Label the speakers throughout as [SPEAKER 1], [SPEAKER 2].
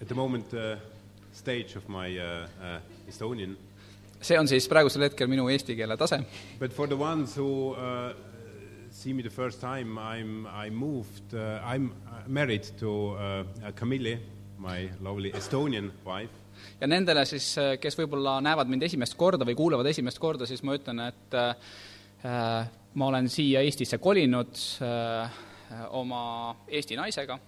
[SPEAKER 1] at the moment uh, stage of my uh, uh, Estonian.
[SPEAKER 2] see on siis praegusel hetkel minu eesti keele tase
[SPEAKER 1] But for the ones who uh, see me the first time, I'm I moved. Uh, I'm uh, married to uh, uh, Camille, my lovely Estonian wife.
[SPEAKER 2] ja nendele siis , kes võib-olla näevad mind esimest korda või kuulevad esimest korda , siis ma ütlen , et äh, ma olen siia Eestisse kolinud äh, oma Eesti naisega .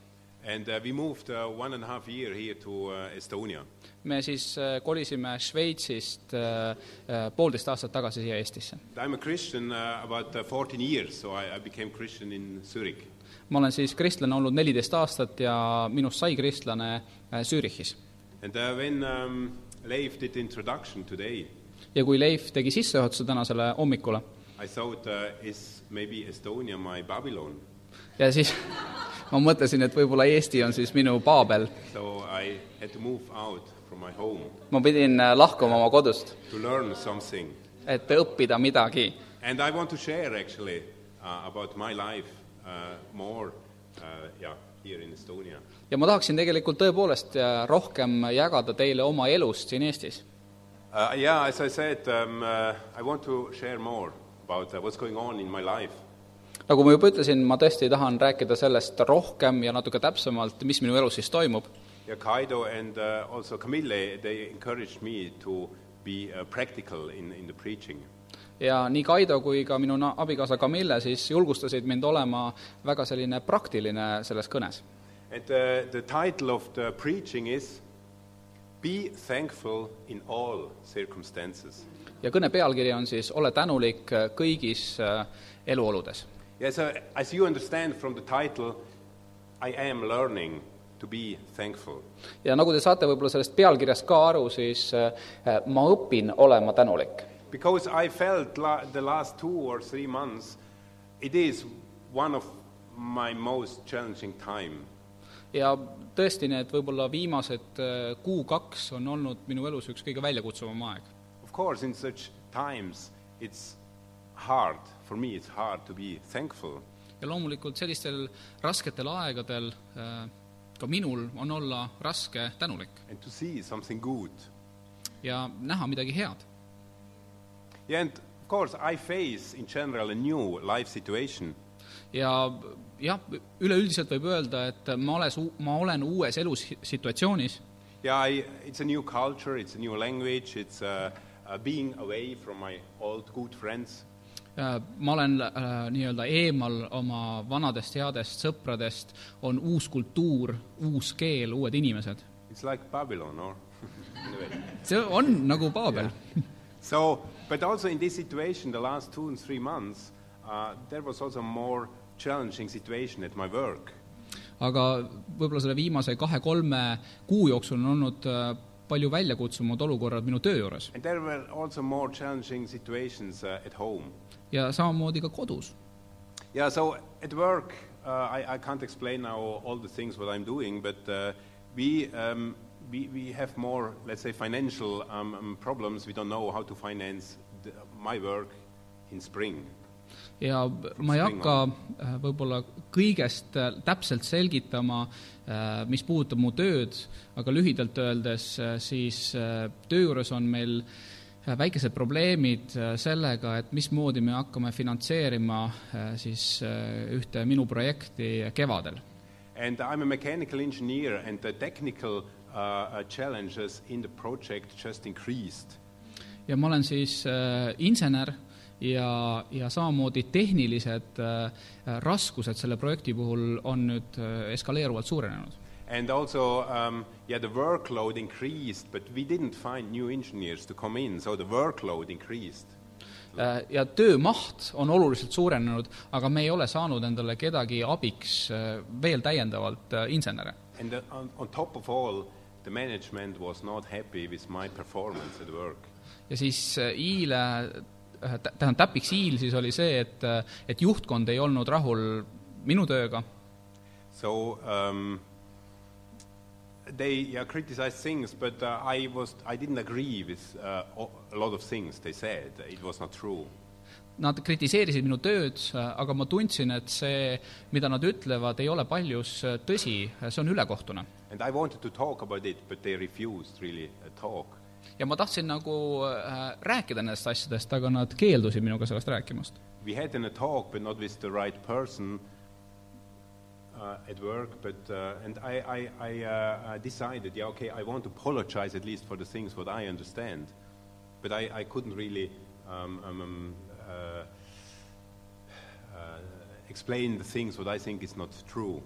[SPEAKER 1] And uh, we moved uh, one and a half year here to uh, Estonia.
[SPEAKER 2] me siis äh, kolisime Šveitsist äh, äh, poolteist aastat tagasi siia Eestisse .
[SPEAKER 1] I'm a Christian uh, about uh, 14 years, so I, I became Christian in Zurich.
[SPEAKER 2] ma olen siis kristlane olnud neliteist aastat ja minust sai kristlane äh, Zürichis .
[SPEAKER 1] And uh, when um, Leif did the introduction today,
[SPEAKER 2] ja kui Leif tegi sissejuhatuse tänasele hommikule
[SPEAKER 1] I thought, uh, is maybe Estonia my Babylon?
[SPEAKER 2] ja siis ma mõtlesin , et võib-olla Eesti on siis minu paabel .
[SPEAKER 1] So I had to move out from my home
[SPEAKER 2] ma pidin äh, lahkuma oma kodust ,
[SPEAKER 1] to learn something.
[SPEAKER 2] et õppida midagi
[SPEAKER 1] And I want to share actually uh, about my life uh, more uh, yeah, here in Estonia.
[SPEAKER 2] ja ma tahaksin tegelikult tõepoolest äh, rohkem jagada teile oma elust siin Eestis .
[SPEAKER 1] Uh, yeah, as I said, um, uh, I want to share more about uh, what's going on in my life.
[SPEAKER 2] nagu ma juba ütlesin , ma tõesti tahan rääkida sellest rohkem ja natuke täpsemalt , mis minu elus siis toimub .
[SPEAKER 1] Yeah, Kaido and uh, also Camille, they encouraged me to be uh, practical in, in the preaching.
[SPEAKER 2] ja nii Kaido kui ka minu na- abikaasa Camille siis julgustasid mind olema väga selline praktiline selles kõnes .
[SPEAKER 1] And uh, the title of the preaching is Be Thankful in All Circumstances.
[SPEAKER 2] ja kõne pealkiri on siis Ole tänulik kõigis äh, eluoludes .
[SPEAKER 1] Yes, uh, as you understand from the title, I am learning to be thankful.
[SPEAKER 2] ja nagu te saate võib-olla sellest pealkirjast ka aru , siis äh, ma õpin olema tänulik
[SPEAKER 1] Because I felt la- the last two or three months, it is one of my most challenging time.
[SPEAKER 2] ja tõesti , need võib-olla viimased äh, kuu-kaks on olnud minu elus üks kõige väljakutsuvam aeg .
[SPEAKER 1] Of course, in such times, it's hard. For me, it's hard to be thankful.
[SPEAKER 2] ja loomulikult sellistel rasketel aegadel äh, ka minul on olla raske tänulik
[SPEAKER 1] and to see something good.
[SPEAKER 2] ja näha midagi head .
[SPEAKER 1] Yeah, and of course, I face in general a new life situation.
[SPEAKER 2] ja jah , üleüldiselt võib öelda , et ma olen , ma olen uues elussituatsioonis
[SPEAKER 1] Yeah, I, it's a new culture, it's a new language, it's uh, uh, being away from my old good friends.
[SPEAKER 2] äh, ma olen äh, nii-öelda eemal oma vanadest headest sõpradest , on uus kultuur , uus keel , uued inimesed .
[SPEAKER 1] It's like Babylon, or in a way.
[SPEAKER 2] see on nagu Paabel .
[SPEAKER 1] So, but also in this situation, the last two and three months, uh, there was also more challenging situation at my work.
[SPEAKER 2] aga võib-olla selle viimase kahe-kolme kuu jooksul on olnud äh, palju väljakutsumad olukorrad minu töö juures
[SPEAKER 1] And there were also more challenging situations uh, at home.
[SPEAKER 2] ja samamoodi ka kodus .
[SPEAKER 1] Yeah, so at work, uh, I, I can't explain now all the things what I'm doing, but uh, we, um, we, we have more, let's say, financial um, um, problems. We don't know how to finance the, my work in spring.
[SPEAKER 2] ja ma ei hakka äh, võib-olla kõigest äh, täpselt selgitama , mis puudutab mu tööd , aga lühidalt öeldes äh, siis äh, töö juures on meil äh, väikesed probleemid äh, sellega , et mismoodi me hakkame finantseerima äh, siis äh, ühte minu projekti kevadel
[SPEAKER 1] And I'm a mechanical engineer, and the technical uh, uh, challenges in the project just increased.
[SPEAKER 2] ja ma olen siis äh, insener ja , ja samamoodi tehnilised äh, raskused selle projekti puhul on nüüd äh, eskaleeruvalt suurenenud .
[SPEAKER 1] And also, um, yeah, the workload increased, but we didn't find new engineers to come in, so the workload increased.
[SPEAKER 2] Äh, ja töömaht on oluliselt suurenenud , aga me ei ole saanud endale kedagi abiks äh, veel täiendavalt äh, insenere .
[SPEAKER 1] And uh, on, on top of all, the management was not happy with my performance at work.
[SPEAKER 2] ja siis äh, iile , tähendab täpiks iil siis oli see , et , et juhtkond ei olnud rahul minu tööga
[SPEAKER 1] So um, they yeah, criticized things, but uh, I, was, I didn't agree with uh, o- a lot of things they said. It was not true.
[SPEAKER 2] nad kritiseerisid minu tööd , aga ma tundsin , et see , mida nad ütlevad , ei ole paljus tõsi , see on ülekohtune .
[SPEAKER 1] And I wanted to talk about it, but they refused really uh, talk.
[SPEAKER 2] ja ma tahtsin nagu äh, rääkida nendest asjadest , aga nad keeldusid minuga sellest rääkimast .
[SPEAKER 1] We had in a talk, but not with the right person uh, at work. But uh, and I, I, I, uh, I decided, yeah, okay, I want to apologize at least for the things what I understand. But I, I couldn't really um, um, um, uh, uh, explain the things what I think is not true.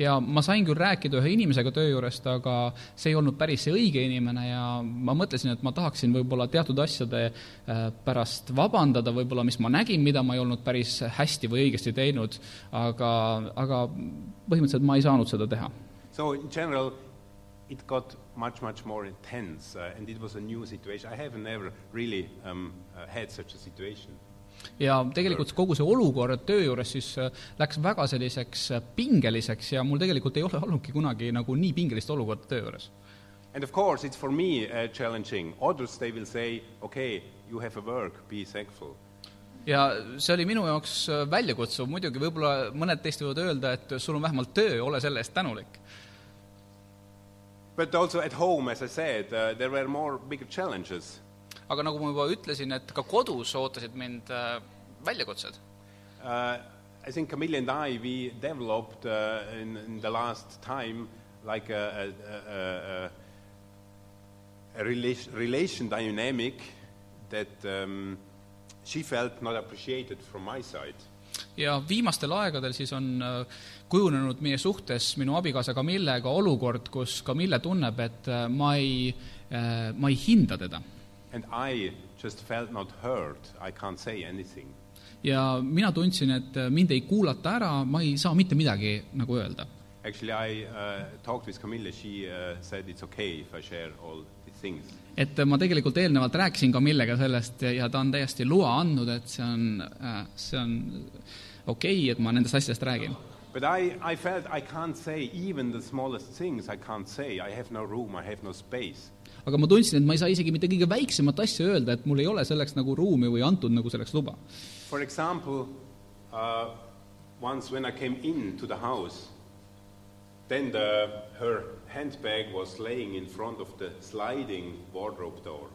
[SPEAKER 2] ja ma sain küll rääkida ühe inimesega töö juurest , aga see ei olnud päris see õige inimene ja ma mõtlesin , et ma tahaksin võib-olla teatud asjade äh, pärast vabandada , võib-olla mis ma nägin , mida ma ei olnud päris hästi või õigesti teinud , aga , aga põhimõtteliselt ma ei saanud seda teha .
[SPEAKER 1] So in general, it got much, much more intense, uh, and it was a new situation. I have never really um, uh, had such a situation.
[SPEAKER 2] ja tegelikult kogu see olukord töö juures siis äh, läks väga selliseks äh, pingeliseks ja mul tegelikult ei ole olnudki kunagi nagu nii pingelist olukorda töö juures
[SPEAKER 1] And of course, it's for me uh, challenging. Others, they will say, okay, you have a work, be thankful.
[SPEAKER 2] ja see oli minu jaoks äh, väljakutsuv , muidugi võib-olla mõned teist võivad öelda , et äh, sul on vähemalt töö , ole selle eest tänulik .
[SPEAKER 1] But also at home, as I said, uh, there were more bigger challenges.
[SPEAKER 2] aga nagu ma juba ütlesin , et ka kodus ootasid mind äh, väljakutsed .
[SPEAKER 1] Uh, I think Camille and I, we developed uh, in, in the last time like a, a, a, a, a relation, relation dynamic that um, she felt not appreciated from my side.
[SPEAKER 2] ja viimastel aegadel siis on äh, kujunenud meie suhtes minu abikaasa Camillega olukord , kus Camille tunneb , et äh, ma ei , ma ei hinda teda .
[SPEAKER 1] And I just felt not heard. I can't say anything.
[SPEAKER 2] ja mina tundsin , et äh, mind ei kuulata ära , ma ei saa mitte midagi nagu öelda .
[SPEAKER 1] Actually, I uh, talked with Camille. She uh, said it's okay if I share all the things.
[SPEAKER 2] et ma tegelikult eelnevalt rääkisin Camillega sellest ja- ja ta on täiesti loa andnud , et see on , see on okei okay, , et ma nendest asjadest räägin .
[SPEAKER 1] But I, I felt I can't say even the smallest things. I can't say. I have no room. I have no space.
[SPEAKER 2] aga ma tundsin , et ma ei saa isegi mitte kõige väiksemat asja öelda , et mul ei ole selleks nagu ruumi või antud nagu selleks luba .
[SPEAKER 1] For example, uh, once when I came into the house, then the, her handbag was laying in front of the sliding wardrobe door.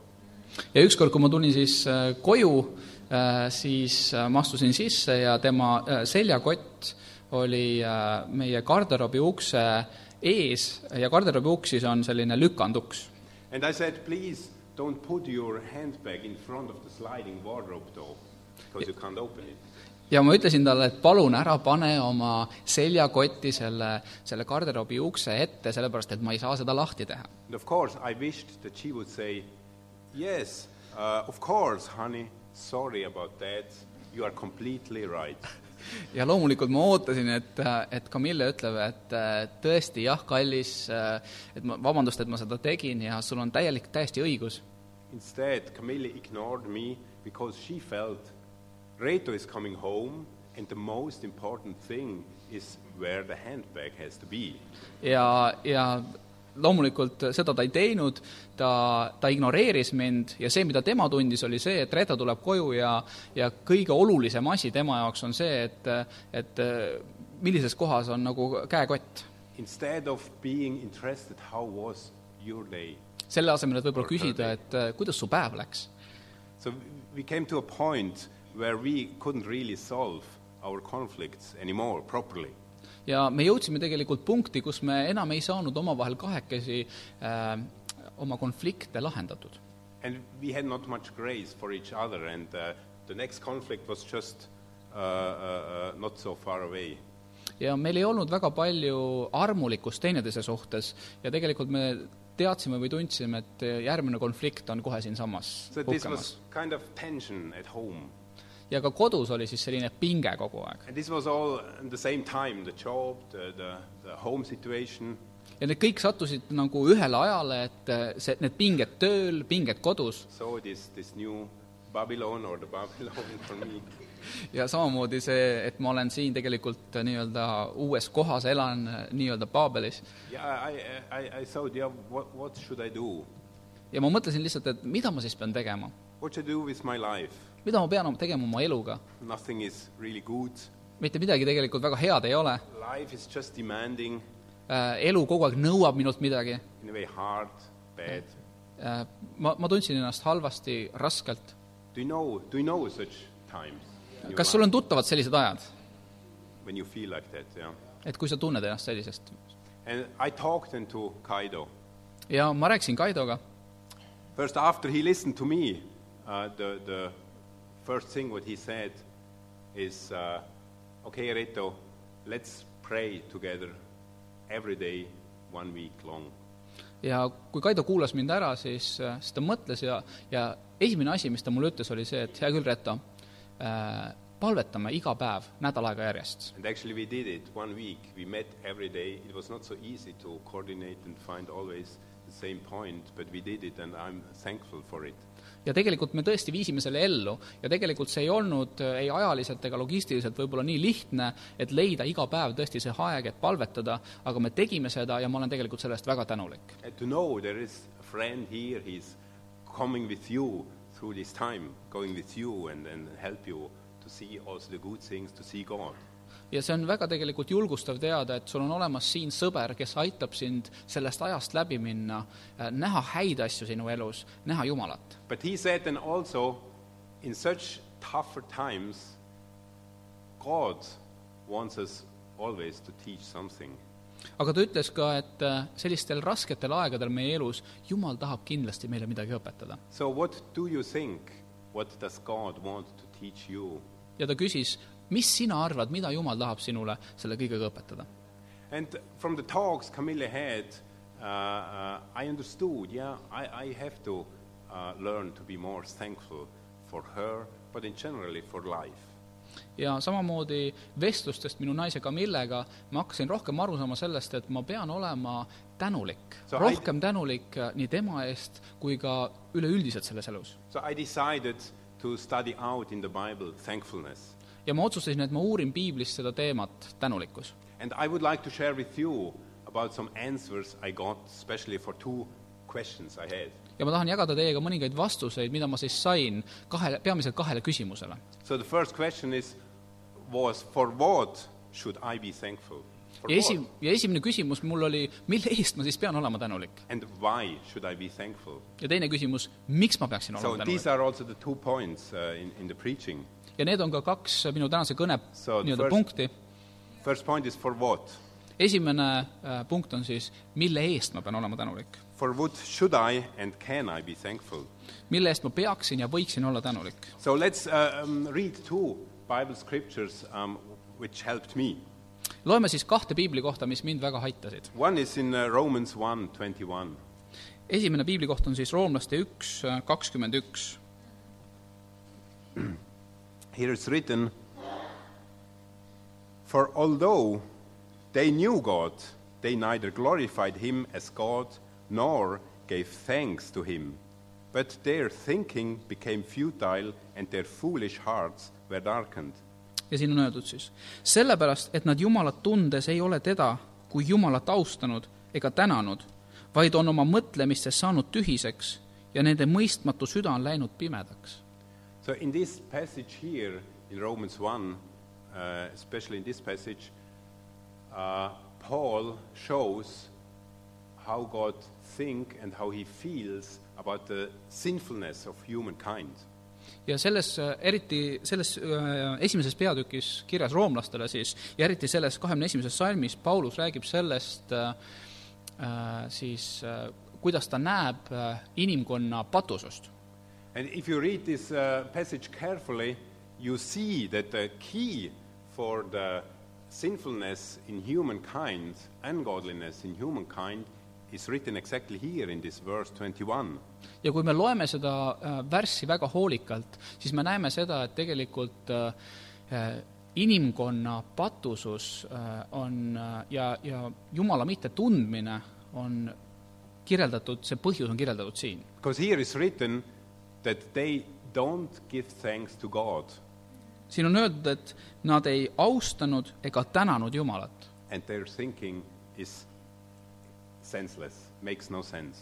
[SPEAKER 2] ja ükskord , kui ma tulin siis äh, koju , siis äh, ma astusin sisse ja tema äh, seljakott oli äh, meie garderoobi ukse ees ja garderoobi uks siis on selline lükanduks
[SPEAKER 1] And I said, please don't put your handbag in front of the sliding wardrobe door because you can't open it.
[SPEAKER 2] ja ma ütlesin talle , et palun ära pane oma seljakotti selle , selle garderoobi ukse ette , sellepärast et ma ei saa seda lahti teha .
[SPEAKER 1] And of course, I wished that she would say, yes, uh, of course, honey, sorry about that. You are completely right.
[SPEAKER 2] ja loomulikult ma ootasin , et , et Camille ütleb , et äh, tõesti jah , kallis , et ma , vabandust , et ma seda tegin ja sul on täielik , täiesti õigus .
[SPEAKER 1] Instead, Camille ignored me because she felt Reto is coming home and the most important thing is where the handbag has to be.
[SPEAKER 2] ja , ja loomulikult seda ta ei teinud , ta , ta ignoreeris mind ja see , mida tema tundis , oli see , et Reeta tuleb koju ja , ja kõige olulisem asi tema jaoks on see , et , et millises kohas on nagu käekott .
[SPEAKER 1] Instead of being interested, how was your day?
[SPEAKER 2] selle asemel , et võib-olla küsida , et äh, kuidas su päev läks .
[SPEAKER 1] So we came to a point where we couldn't really solve our conflicts anymore properly.
[SPEAKER 2] ja me jõudsime tegelikult punkti , kus me enam ei saanud omavahel kahekesi äh, oma konflikte lahendatud
[SPEAKER 1] And we had not much grace for each other, and uh, the next conflict was just uh, uh, uh, not so far away.
[SPEAKER 2] ja meil ei olnud väga palju armulikkust teineteise suhtes ja tegelikult me teadsime või tundsime , et järgmine konflikt on kohe siinsamas
[SPEAKER 1] So this was
[SPEAKER 2] puhkemas .
[SPEAKER 1] kind of tension at home.
[SPEAKER 2] ja ka kodus oli siis selline pinge kogu aeg .
[SPEAKER 1] And this was all at the same time the job, the, the, the home situation.
[SPEAKER 2] ja need kõik sattusid nagu ühele ajale , et see , need pinged tööl , pinged kodus
[SPEAKER 1] So this, this new Babylon or the Babylon for me.
[SPEAKER 2] ja samamoodi see , et ma olen siin tegelikult nii-öelda uues kohas , elan nii-öelda Paabelis .
[SPEAKER 1] Yeah, I, I, I, I thought, yeah, what, what should I do?
[SPEAKER 2] ja ma mõtlesin lihtsalt , et mida ma siis pean tegema ,
[SPEAKER 1] What should I do with my life?
[SPEAKER 2] mida ma pean tegema oma eluga .
[SPEAKER 1] Nothing is really good.
[SPEAKER 2] mitte midagi tegelikult väga head ei ole
[SPEAKER 1] Life is just demanding.
[SPEAKER 2] Äh, elu kogu aeg nõuab minult midagi .
[SPEAKER 1] in a way hard, bad.
[SPEAKER 2] ma , ma tundsin ennast halvasti , raskelt .
[SPEAKER 1] Do you know, do you know such times? in your
[SPEAKER 2] kas sul
[SPEAKER 1] life
[SPEAKER 2] on tuttavad sellised ajad ,
[SPEAKER 1] When you feel like that, yeah.
[SPEAKER 2] et kui sa tunned ennast sellisest ?
[SPEAKER 1] And I talked into Kaido.
[SPEAKER 2] ja ma rääkisin Kaidoga
[SPEAKER 1] First, after he listened to me, uh, the, the first thing what he said is, uh, okay, Reto, let's pray together every day, one week long.
[SPEAKER 2] ja kui Kaido kuulas mind ära , siis , siis ta mõtles ja , ja esimene asi , mis ta mulle ütles , oli see , et hea küll , Reto , palvetame iga päev nädal aega järjest .
[SPEAKER 1] And actually, we did it one week. We met every day. It was not so easy to coordinate and find always the same point, but we did it, and I'm thankful for it.
[SPEAKER 2] ja tegelikult me tõesti viisime selle ellu ja tegelikult see ei olnud äh, ei ajaliselt ega logistiliselt võib-olla nii lihtne , et leida iga päev tõesti see aeg , et palvetada , aga me tegime seda ja ma olen tegelikult selle eest väga tänulik .
[SPEAKER 1] And Uh, to know there is a friend here, he's coming with you through this time, going with you and, and help you to see also the good things, to see God.
[SPEAKER 2] ja see on väga tegelikult julgustav teada , et sul on olemas siin sõber , kes aitab sind sellest ajast läbi minna , näha häid asju sinu elus , näha Jumalat .
[SPEAKER 1] But he said then also, in such tougher times, God wants us always to teach something.
[SPEAKER 2] aga ta ütles ka , et äh, sellistel rasketel aegadel meie elus Jumal tahab kindlasti meile midagi õpetada .
[SPEAKER 1] So what do you think? What does God want to teach you?
[SPEAKER 2] ja ta küsis , mis sina arvad , mida Jumal tahab sinule selle kõigega õpetada ?
[SPEAKER 1] And from the talks Camille had, uh, uh, I understood, yeah, I, I have to uh, learn to be more thankful for her, but in generally for life.
[SPEAKER 2] ja samamoodi vestlustest minu naise Camillega ma hakkasin rohkem aru saama sellest , et ma pean olema tänulik ,
[SPEAKER 1] Sa-
[SPEAKER 2] rohkem tänulik äh, nii tema eest kui ka üleüldiselt selles elus .
[SPEAKER 1] So I decided to study out in the Bible thankfulness.
[SPEAKER 2] ja ma otsustasin , et ma uurin piiblis seda teemat tänulikkus .
[SPEAKER 1] And I would like to share with you about some answers I got, especially for two questions I had.
[SPEAKER 2] ja ma tahan jagada teiega mõningaid vastuseid , mida ma siis sain kahele , peamiselt kahele küsimusele .
[SPEAKER 1] So the first question is, was for what should I be thankful? For
[SPEAKER 2] ja esi
[SPEAKER 1] what? ,
[SPEAKER 2] ja esimene küsimus mul oli , mille eest ma siis pean olema tänulik ?
[SPEAKER 1] And why should I be thankful?
[SPEAKER 2] ja teine küsimus , miks ma peaksin
[SPEAKER 1] So
[SPEAKER 2] olema
[SPEAKER 1] these
[SPEAKER 2] tänulik ?
[SPEAKER 1] are also the two points uh, in, in the preaching.
[SPEAKER 2] ja need on ka kaks minu tänase kõne
[SPEAKER 1] So the
[SPEAKER 2] nii-öelda
[SPEAKER 1] first-
[SPEAKER 2] punkti .
[SPEAKER 1] First point is for what?
[SPEAKER 2] esimene äh, punkt on siis , mille eest ma pean olema tänulik ?
[SPEAKER 1] For what should I and can I be thankful?
[SPEAKER 2] mille eest ma peaksin ja võiksin olla tänulik ?
[SPEAKER 1] So let's uh, um, read two Bible scriptures um, which helped me.
[SPEAKER 2] loeme siis kahte piibli kohta , mis mind väga aitasid .
[SPEAKER 1] One is in uh, Romans 1:21.
[SPEAKER 2] esimene piibli koht on siis roomlaste üks , kakskümmend üks
[SPEAKER 1] Here it's written For although they knew God, they neither glorified him as God nor gave thanks to him. But their thinking became futile and their foolish hearts were darkened.
[SPEAKER 2] ja siin on öeldud siis , sellepärast , et nad Jumalat tundes ei ole teda kui Jumalat austanud ega tänanud , vaid on oma mõtlemistes saanud tühiseks ja nende mõistmatu süda on läinud pimedaks .
[SPEAKER 1] So, in this passage here, in Romans 1, uh, especially in this passage, uh, Paul shows how God think and how he feels about the sinfulness of humankind.
[SPEAKER 2] ja selles , eriti selles äh, esimeses peatükis kirjas roomlastele siis ja eriti selles kahekümne esimeses salmis Paulus räägib sellest äh, äh, siis äh, , kuidas ta näeb äh, inimkonna patusust
[SPEAKER 1] And if you read this uh, passage carefully, you see that the key for the sinfulness in humankind, ungodliness in humankind, is written exactly here in this verse 21.
[SPEAKER 2] ja kui me loeme seda äh, värssi väga hoolikalt , siis me näeme seda , et tegelikult äh, äh, inimkonna patusus äh, on äh, ja , ja Jumala mittetundmine on kirjeldatud , see põhjus on kirjeldatud siin .
[SPEAKER 1] Because here is written that they don't give thanks to God
[SPEAKER 2] siin on öeldud , et nad ei austanud ega tänanud Jumalat
[SPEAKER 1] and their thinking is senseless, makes no sense.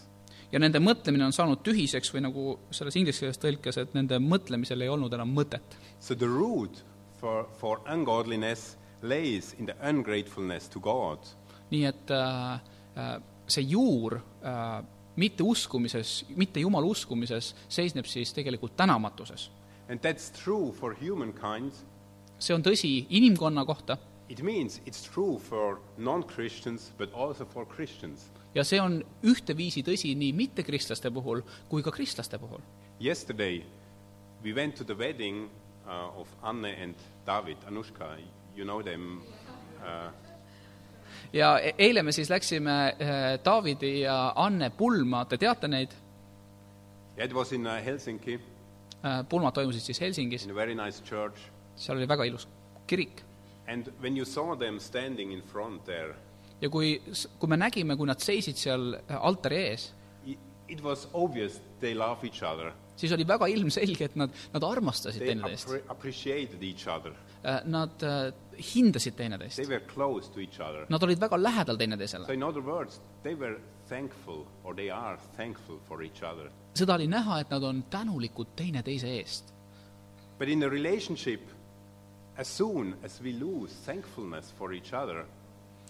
[SPEAKER 2] ja nende mõtlemine on saanud tühiseks või nagu selles inglise keeles tõlkes , et nende mõtlemisel ei olnud enam mõtet .
[SPEAKER 1] So the root for, for ungodliness lays in the ungratefulness to God.
[SPEAKER 2] nii et äh, äh, see juur äh, mitte uskumises, mitte Jumala uskumises, seisneb siis tegelikult tänamatuses.
[SPEAKER 1] And that's true for humankind.
[SPEAKER 2] see on tõsi inimkonna kohta
[SPEAKER 1] It means it's true for non Christians, but also for Christians.
[SPEAKER 2] ja see on ühteviisi tõsi nii mittekristlaste puhul kui ka kristlaste puhul .
[SPEAKER 1] Yesterday, we went to the wedding uh, of Anne and David, Anushka. You know them. Uh,
[SPEAKER 2] ja e- eile me siis läksime äh, Taavidi ja Anne pulma , te teate neid ,
[SPEAKER 1] it was in uh, Helsinki,
[SPEAKER 2] Äh, pulmad toimusid siis Helsingis
[SPEAKER 1] in a very nice church.
[SPEAKER 2] seal oli väga ilus kirik .
[SPEAKER 1] And when you saw them standing in front there,
[SPEAKER 2] ja kui , kui me nägime , kui nad seisid seal äh, altari ees ,
[SPEAKER 1] it, it was obvious they love each other.
[SPEAKER 2] siis oli väga ilmselge , et nad , nad armastasid
[SPEAKER 1] They
[SPEAKER 2] teineteist ,
[SPEAKER 1] appre- appreciated each other.
[SPEAKER 2] nad äh, hindasid
[SPEAKER 1] They
[SPEAKER 2] teineteist ,
[SPEAKER 1] were close to each other.
[SPEAKER 2] nad olid väga lähedal teineteisele
[SPEAKER 1] So, in other words, they were thankful, or they are thankful for each other.
[SPEAKER 2] seda oli näha , et nad on tänulikud teineteise eest .
[SPEAKER 1] But in a relationship, as soon as we lose thankfulness for each other,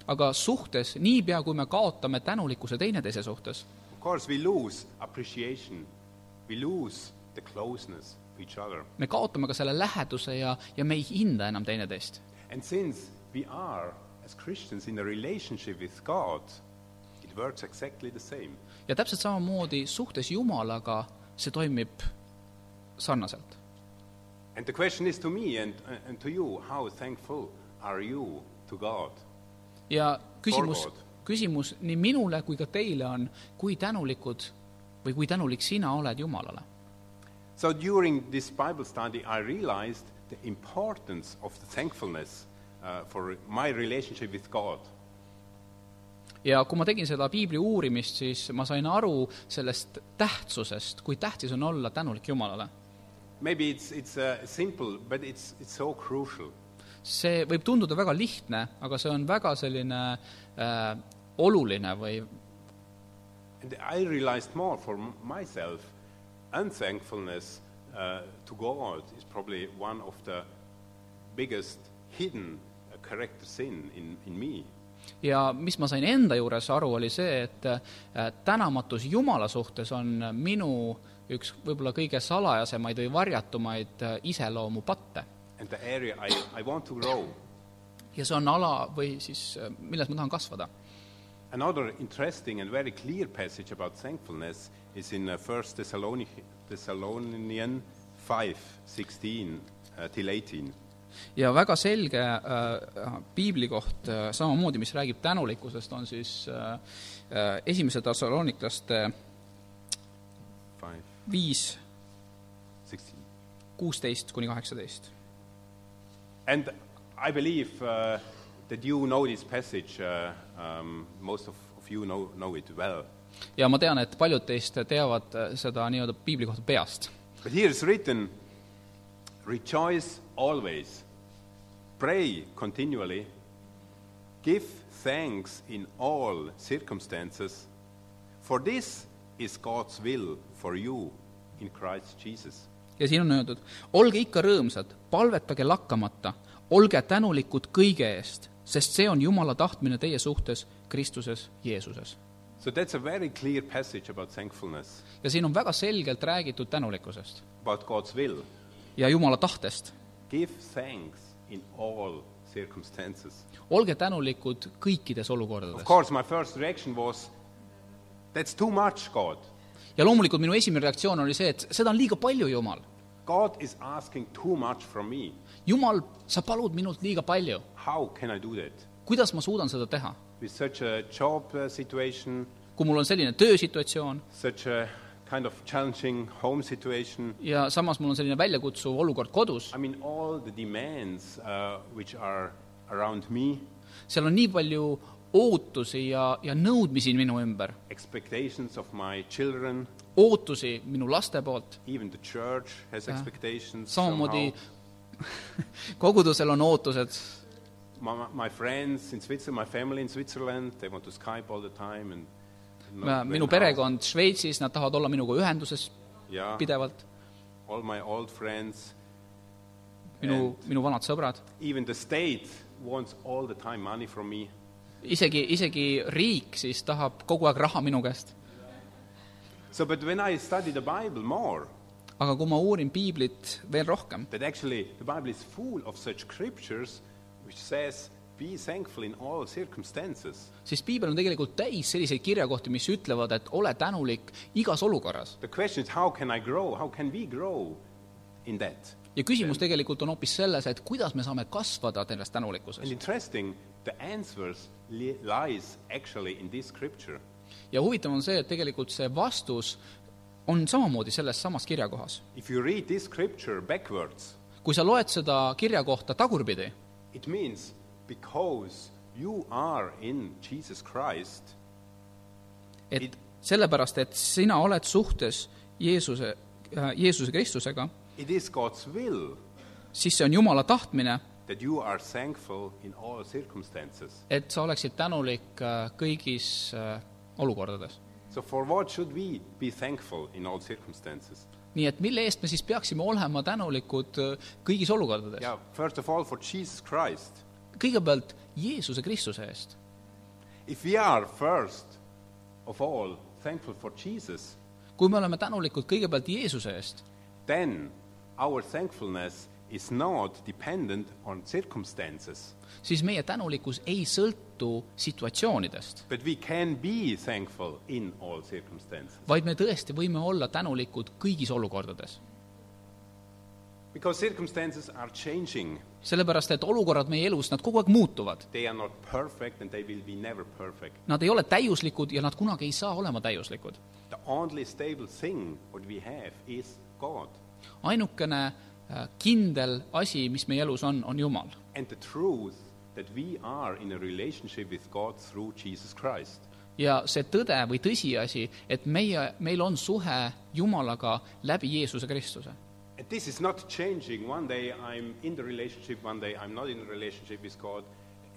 [SPEAKER 2] aga suhtes , niipea kui me kaotame tänulikkuse teineteise suhtes ,
[SPEAKER 1] of course we lose appreciation, we lose the closeness to each other.
[SPEAKER 2] me kaotame ka selle läheduse ja , ja me ei hinda enam teineteist .
[SPEAKER 1] And since we are, as Christians, in a relationship with God, it works exactly the same.
[SPEAKER 2] ja täpselt samamoodi suhtes Jumalaga see toimib sarnaselt .
[SPEAKER 1] And the question is to me and, and to you how thankful are you to God?
[SPEAKER 2] ja küsimus
[SPEAKER 1] Forward. ,
[SPEAKER 2] küsimus nii minule kui ka teile on , kui tänulikud või kui tänulik sina oled Jumalale .
[SPEAKER 1] So during this Bible study, I realized the importance of the thankfulness uh, for my relationship with God.
[SPEAKER 2] ja kui ma tegin seda piibli uurimist , siis ma sain aru sellest tähtsusest , kui tähtis on olla tänulik Jumalale .
[SPEAKER 1] Maybe it's, it's uh, simple, but it's, it's so crucial.
[SPEAKER 2] see võib tunduda väga lihtne , aga see on väga selline äh, oluline või
[SPEAKER 1] And I realized more for m- myself, unthankfulness uh, to God is probably one of the biggest hidden uh, character sin in, in me.
[SPEAKER 2] ja mis ma sain enda juures aru , oli see , et äh, tänamatus Jumala suhtes on minu üks võib-olla kõige salajasemaid või varjatumaid äh, iseloomupatte .
[SPEAKER 1] And the area I, I want to grow.
[SPEAKER 2] ja see on ala või siis , milles ma tahan kasvada .
[SPEAKER 1] Another interesting and very clear passage about thankfulness is in uh, 1 Thessalonic- Thessalonians 5, 16 uh, till 18.
[SPEAKER 2] ja väga selge äh, piiblikoht äh, samamoodi , mis räägib tänulikkusest , on siis äh, äh, esimese tasalooniklaste
[SPEAKER 1] 5,
[SPEAKER 2] viis ,
[SPEAKER 1] 16.
[SPEAKER 2] kuusteist kuni kaheksateist
[SPEAKER 1] And I believe uh, that you know this passage. Uh, um, most of, of you know, know it well.
[SPEAKER 2] ja ma tean , et paljud teist teavad äh, seda nii-öelda piibli kohta peast .
[SPEAKER 1] But here is written Rejoice always, pray continually, give thanks in all circumstances, for this is God's will for you in Christ Jesus.
[SPEAKER 2] ja siin on öeldud , olge ikka rõõmsad , palvetage lakkamata , olge tänulikud kõige eest , sest see on Jumala tahtmine teie suhtes Kristuses Jeesuses .
[SPEAKER 1] So that's a very clear passage about thankfulness,
[SPEAKER 2] ja siin on väga selgelt räägitud tänulikkusest
[SPEAKER 1] about God's will.
[SPEAKER 2] ja Jumala tahtest .
[SPEAKER 1] Give thanks in all circumstances.
[SPEAKER 2] olge tänulikud kõikides
[SPEAKER 1] Of
[SPEAKER 2] olukordades .
[SPEAKER 1] course, my first reaction was, that's too much, God.
[SPEAKER 2] ja loomulikult minu esimene reaktsioon oli see , et seda on liiga palju , Jumal .
[SPEAKER 1] God is asking too much from me.
[SPEAKER 2] Jumal , sa palud minult liiga palju .
[SPEAKER 1] How can I do that?
[SPEAKER 2] kuidas ma suudan seda teha ?
[SPEAKER 1] With such a job uh, situation,
[SPEAKER 2] kui mul on selline töösituatsioon
[SPEAKER 1] such a kind of challenging home situation,
[SPEAKER 2] ja samas mul on selline väljakutsuv olukord kodus ,
[SPEAKER 1] I mean, all the demands uh, which are around me,
[SPEAKER 2] seal on nii palju ootusi ja , ja nõudmisi minu ümber ,
[SPEAKER 1] expectations of my children,
[SPEAKER 2] ootusi minu laste poolt ,
[SPEAKER 1] even the church has
[SPEAKER 2] Yeah.
[SPEAKER 1] expectations.
[SPEAKER 2] samamoodi
[SPEAKER 1] somehow.
[SPEAKER 2] kogudusel on ootused
[SPEAKER 1] My, my friends in Switzerland, my family in Switzerland, they want to Skype all the time. and not
[SPEAKER 2] Ma-
[SPEAKER 1] when
[SPEAKER 2] minu
[SPEAKER 1] how.
[SPEAKER 2] perekond Šveitsis , nad tahavad olla minuga ühenduses
[SPEAKER 1] Yeah.
[SPEAKER 2] pidevalt ,
[SPEAKER 1] all my old friends,
[SPEAKER 2] minu , minu vanad sõbrad
[SPEAKER 1] even the state wants all the time money from me.
[SPEAKER 2] isegi , isegi riik siis tahab kogu aeg raha minu käest .
[SPEAKER 1] So, but when I study the Bible more,
[SPEAKER 2] aga kui ma uurin piiblit veel rohkem ,
[SPEAKER 1] that actually the Bible is full of such scriptures which says, be thankful in all circumstances.
[SPEAKER 2] siis piibel on tegelikult täis selliseid kirjakohti , mis ütlevad , et ole tänulik igas olukorras .
[SPEAKER 1] The question is, how can I grow? How can we grow in that?
[SPEAKER 2] ja küsimus tegelikult on hoopis selles , et kuidas me saame kasvada selles
[SPEAKER 1] And
[SPEAKER 2] tänulikkuses .
[SPEAKER 1] interesting, the answers li- lies actually in this scripture.
[SPEAKER 2] ja huvitav on see , et tegelikult see vastus on samamoodi selles samas kirjakohas .
[SPEAKER 1] If you read this scripture backwards,
[SPEAKER 2] kui sa loed seda kirjakohta tagurpidi ,
[SPEAKER 1] it means because you are in Jesus Christ,
[SPEAKER 2] et sellepärast , et sina oled suhtes Jeesuse , Jeesuse Kristusega ,
[SPEAKER 1] it is God's will
[SPEAKER 2] siis see on Jumala tahtmine ,
[SPEAKER 1] that you are thankful in all circumstances.
[SPEAKER 2] et sa oleksid tänulik äh, kõigis äh, olukordades .
[SPEAKER 1] So, for what should we be thankful in all circumstances?
[SPEAKER 2] nii et mille eest me siis peaksime olema tänulikud äh, kõigis olukordades ?
[SPEAKER 1] Yeah, first of all, for Jesus Christ.
[SPEAKER 2] kõigepealt Jeesuse Kristuse eest .
[SPEAKER 1] If we are first of all thankful for Jesus,
[SPEAKER 2] kui me oleme tänulikud kõigepealt Jeesuse eest ,
[SPEAKER 1] then our thankfulness is not dependent on circumstances,
[SPEAKER 2] siis meie tänulikkus ei sõltu situatsioonidest ,
[SPEAKER 1] but we can be thankful in all circumstances.
[SPEAKER 2] vaid me tõesti võime olla tänulikud kõigis olukordades .
[SPEAKER 1] Because circumstances are changing.
[SPEAKER 2] sellepärast , et olukorrad meie elus , nad kogu aeg muutuvad .
[SPEAKER 1] They are not perfect and they will be never perfect.
[SPEAKER 2] Nad ei ole täiuslikud ja nad kunagi ei saa olema täiuslikud .
[SPEAKER 1] The only stable thing what we have is God.
[SPEAKER 2] ainukene äh, kindel asi , mis meie elus on , on Jumal .
[SPEAKER 1] And the truth that we are in a relationship with God through Jesus Christ.
[SPEAKER 2] ja see tõde või tõsiasi , et meie , meil on suhe Jumalaga läbi Jeesuse Kristuse .
[SPEAKER 1] And this is not changing. One day I'm in the relationship, one day I'm not in the relationship with God.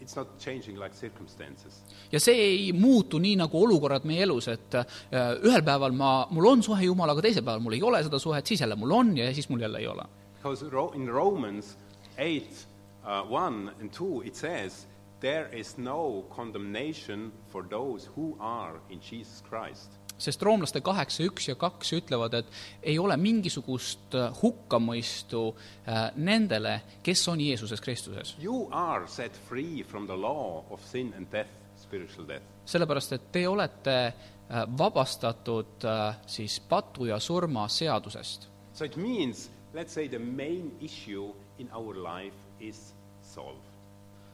[SPEAKER 1] It's not changing like circumstances.
[SPEAKER 2] ja see ei muutu nii , nagu olukorrad meie elus , et äh, ühel päeval ma , mul on suhe Jumalaga , teisel päeval mul ei ole seda suhet , siis jälle mul on ja siis mul jälle ei ole .
[SPEAKER 1] Because Ro- in Romans 8, uh, 1 and 2, it says, There is no condemnation for those who are in Jesus Christ.
[SPEAKER 2] sest roomlaste kaheksa , üks ja kaks ütlevad , et ei ole mingisugust äh, hukkamõistu äh, nendele , kes on Jeesuses Kristuses .
[SPEAKER 1] You are set free from the law of sin and death, spiritual death.
[SPEAKER 2] sellepärast , et te olete äh, vabastatud äh, siis patu ja surma seadusest .
[SPEAKER 1] So it means, let's say, the main issue in our life is solved.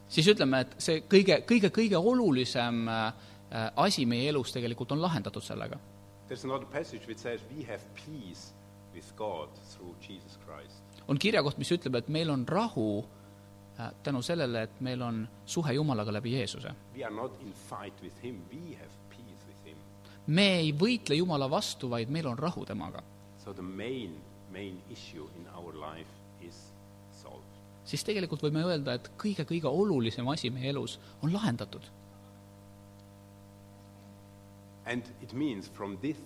[SPEAKER 2] siis ütleme , et see kõige , kõige , kõige olulisem äh, äh, asi meie elus tegelikult on lahendatud sellega
[SPEAKER 1] There's another passage which says, We have peace with God through Jesus Christ.
[SPEAKER 2] on kirjakoht , mis ütleb , et meil on rahu äh, tänu sellele , et meil on suhe Jumalaga läbi Jeesuse .
[SPEAKER 1] We are not in fight with Him, we have peace with Him.
[SPEAKER 2] me ei võitle Jumala vastu , vaid meil on rahu temaga .
[SPEAKER 1] So the main, main issue in our life is solved.
[SPEAKER 2] siis tegelikult võime öelda , et kõige-kõige olulisem asi meie elus on lahendatud .
[SPEAKER 1] And it means from this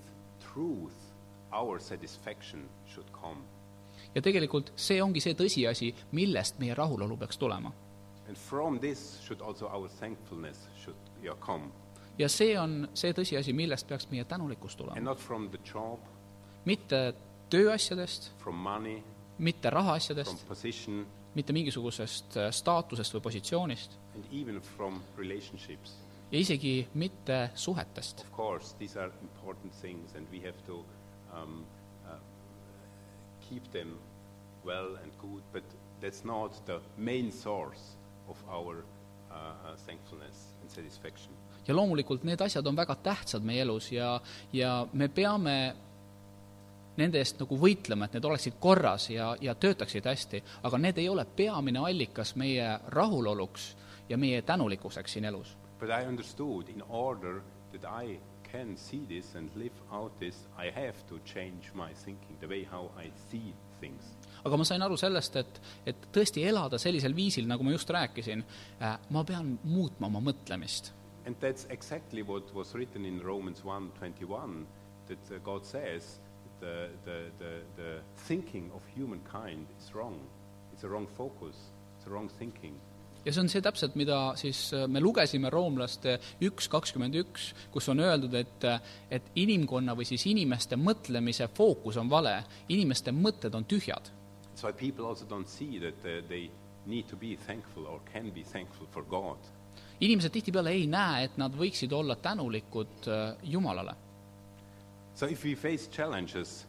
[SPEAKER 1] truth, our satisfaction should come.
[SPEAKER 2] ja tegelikult see ongi see tõsiasi , millest meie rahulolu peaks tulema .
[SPEAKER 1] And from this should also our thankfulness should yeah, come.
[SPEAKER 2] ja see on see tõsiasi , millest peaks meie tänulikkus
[SPEAKER 1] And
[SPEAKER 2] tulema .
[SPEAKER 1] not from the job,
[SPEAKER 2] mitte tööasjadest ,
[SPEAKER 1] from money,
[SPEAKER 2] mitte
[SPEAKER 1] from
[SPEAKER 2] rahaasjadest ,
[SPEAKER 1] position,
[SPEAKER 2] mitte mingisugusest äh, staatusest või positsioonist
[SPEAKER 1] and even from relationships.
[SPEAKER 2] ja isegi mitte suhetest .
[SPEAKER 1] Of course, these are important things, and we have to um, uh, keep them well and good, but that's not the main source of our uh, uh, thankfulness and satisfaction.
[SPEAKER 2] ja loomulikult need asjad on väga tähtsad meie elus ja , ja me peame nende eest nagu võitlema , et need oleksid korras ja , ja töötaksid hästi , aga need ei ole peamine allikas meie rahuloluks ja meie tänulikkuseks siin elus .
[SPEAKER 1] But I understood in order that I can see this and live out this, I have to change my thinking, the way how I see things.
[SPEAKER 2] aga ma sain aru sellest , et , et tõesti elada sellisel viisil , nagu ma just rääkisin , ma pean muutma oma mõtlemist .
[SPEAKER 1] And that's exactly what was written in Romans 1:21, that uh, God says the, the, the, the thinking of humankind is wrong. It's a wrong focus. It's a wrong thinking.
[SPEAKER 2] ja see on see täpselt, mida siis äh, me lugesime roomlaste üks kakskümmend üks, kus on öeldud, et äh, et inimkonna või siis inimeste mõtlemise fookus on vale, inimeste mõtted on tühjad.
[SPEAKER 1] That's why people also don't see that uh, they need to be thankful or can be thankful for God.
[SPEAKER 2] inimesed tihtipeale ei näe, et nad võiksid olla tänulikud äh, Jumalale
[SPEAKER 1] So if we face challenges,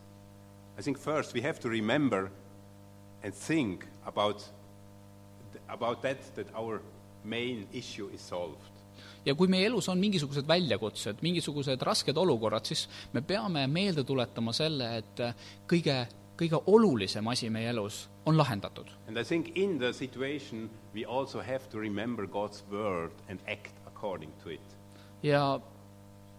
[SPEAKER 1] I think first we have to remember and think about, th- about that, that our main issue is solved.
[SPEAKER 2] ja kui meie elus on mingisugused väljakutsed, mingisugused rasked olukorrad, siis me peame meelde tuletama selle, et äh, kõige, kõige olulisem asi meie elus on lahendatud.
[SPEAKER 1] And I think in the situation, we also have to remember God's word and act according to it.
[SPEAKER 2] ja